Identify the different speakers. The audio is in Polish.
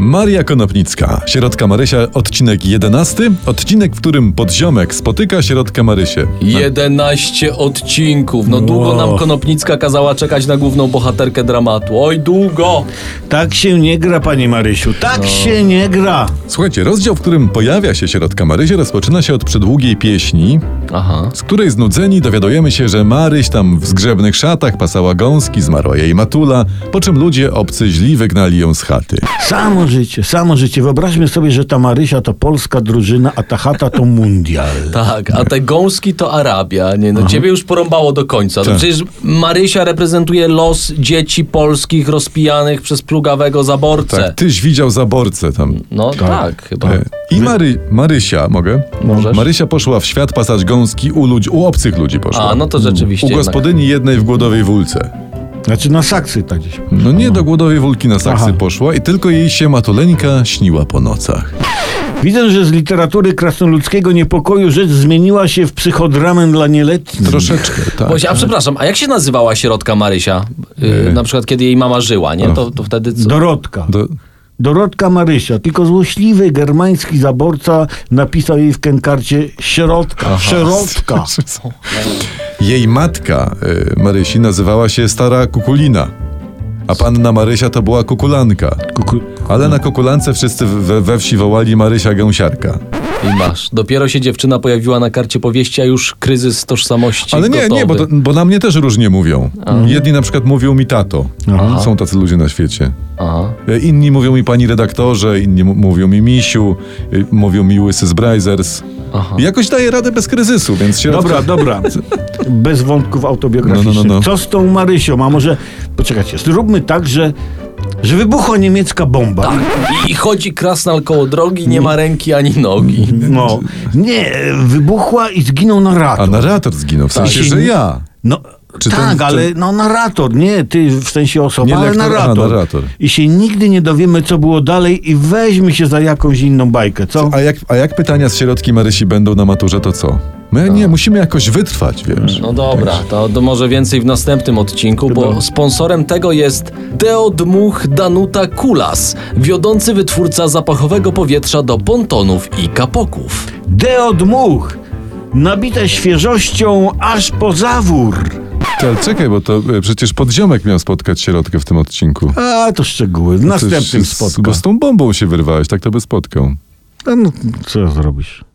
Speaker 1: Maria Konopnicka, środka Marysia, odcinek 11, odcinek, w którym podziomek spotyka środkę Marysię.
Speaker 2: 11 odcinków. No długo
Speaker 3: Wow.
Speaker 2: nam Konopnicka kazała czekać na główną bohaterkę dramatu. Oj, długo!
Speaker 3: Tak się nie gra, panie Marysiu. Tak się nie gra.
Speaker 1: Słuchajcie, rozdział, w którym pojawia się środka Marysia, rozpoczyna się od przedługiej pieśni,
Speaker 2: Aha.
Speaker 1: z której znudzeni dowiadujemy się, że Maryś tam w zgrzebnych szatach pasała gąski, zmarła jej matula, po czym ludzie obcy źli wygnali ją z chaty. Tak,
Speaker 3: Samo życie, samo życie. Wyobraźmy sobie, że ta Marysia to polska drużyna, a ta chata to mundial.
Speaker 2: Tak, a te gąski to Arabia. Nie, no ciebie już porąbało do końca. No
Speaker 1: Tak.
Speaker 2: przecież Marysia reprezentuje los dzieci polskich rozpijanych przez plugawego zaborcę.
Speaker 1: Tak, tyś widział zaborcę tam.
Speaker 2: No tak, chyba.
Speaker 1: E, I Mary, Marysia, mogę?
Speaker 2: Możesz.
Speaker 1: Marysia poszła w świat pasać gąski u ludzi, u obcych ludzi poszła.
Speaker 2: A, no to rzeczywiście
Speaker 1: U
Speaker 2: jednak.
Speaker 1: gospodyni jednej w Głodowej Wólce.
Speaker 3: Znaczy na saksy tak gdzieś.
Speaker 1: No nie do Głodowej Wólki na saksy
Speaker 3: Aha.
Speaker 1: poszła i tylko jej się matuleńka śniła po nocach.
Speaker 3: Widzę, że z literatury krasnoludzkiego niepokoju rzecz zmieniła się w psychodramę dla nieletnich.
Speaker 1: Troszeczkę, tak. E.
Speaker 2: Boś, a przepraszam, a jak się nazywała środka Marysia? Yy, na przykład kiedy jej mama żyła, nie? To, to wtedy co?
Speaker 3: Dorotka.
Speaker 1: No. Do,
Speaker 3: Dorotka Marysia. Tylko złośliwy germański zaborca napisał jej w kenkarcie środka. Środka.
Speaker 1: jej matka y, Marysi nazywała się Stara Kukulina, a panna Marysia to była Kukulanka.
Speaker 3: Kuku-
Speaker 1: Ale na Kukulance wszyscy we, we wsi wołali Marysia Gęsiarka.
Speaker 2: I masz. Dopiero się dziewczyna pojawiła na karcie powieści, a już kryzys tożsamości
Speaker 1: Ale nie,
Speaker 2: gotowy.
Speaker 1: nie, bo, to- bo na mnie też różnie mówią. Jedni na przykład mówią mi tato.
Speaker 3: Aha.
Speaker 1: Są tacy ludzie na świecie.
Speaker 2: Aha.
Speaker 1: E, Inni mówią mi pani redaktorze, inni m- mówią mi misiu, e, mówią mi łysy z Brazers.
Speaker 2: Aha.
Speaker 1: Jakoś daję radę bez kryzysu, więc się...
Speaker 3: Dobra, dobra. Bez wątków autobiograficznych.
Speaker 1: No, no, no, no.
Speaker 3: Co z tą Marysią? A może, poczekajcie, zróbmy tak, że, że wybuchła niemiecka bomba.
Speaker 2: Tak. I chodzi krasnal koło drogi, nie ma ręki ani nogi.
Speaker 3: No, nie, wybuchła i zginął
Speaker 1: A
Speaker 3: narrator.
Speaker 1: narrator zginął, w
Speaker 3: Tak.
Speaker 1: sensie, że ja.
Speaker 3: No,
Speaker 1: Czy
Speaker 3: tak,
Speaker 1: ten- czy-
Speaker 3: ale no, narrator, nie ty w sensie osoba,
Speaker 1: Nie
Speaker 3: ale
Speaker 1: lektor, a,
Speaker 3: narrator.
Speaker 1: narrator.
Speaker 3: I się nigdy nie dowiemy, co było dalej i weźmy się za jakąś inną bajkę, co?
Speaker 1: A jak, a jak pytania z środki Marysi będą na maturze, to co? My
Speaker 3: Tak.
Speaker 1: nie, musimy jakoś wytrwać, wiesz.
Speaker 2: No dobra, to, to może więcej w następnym odcinku, bo sponsorem tego jest Deodmuch Danuta Kulas, wiodący wytwórca zapachowego powietrza do pontonów i kapoków.
Speaker 3: Deodmuch, nabite świeżością aż po zawór.
Speaker 1: Ty, Ale czekaj, bo to e, przecież podziomek miał spotkać środkę w tym odcinku.
Speaker 3: A, to szczegóły, w
Speaker 1: Przecież
Speaker 3: następnym
Speaker 1: z- Bo
Speaker 3: spotkaniu. ну,
Speaker 1: z tą bombą się wyrwałeś, tak to by spotkał.
Speaker 3: No, co zrobisz?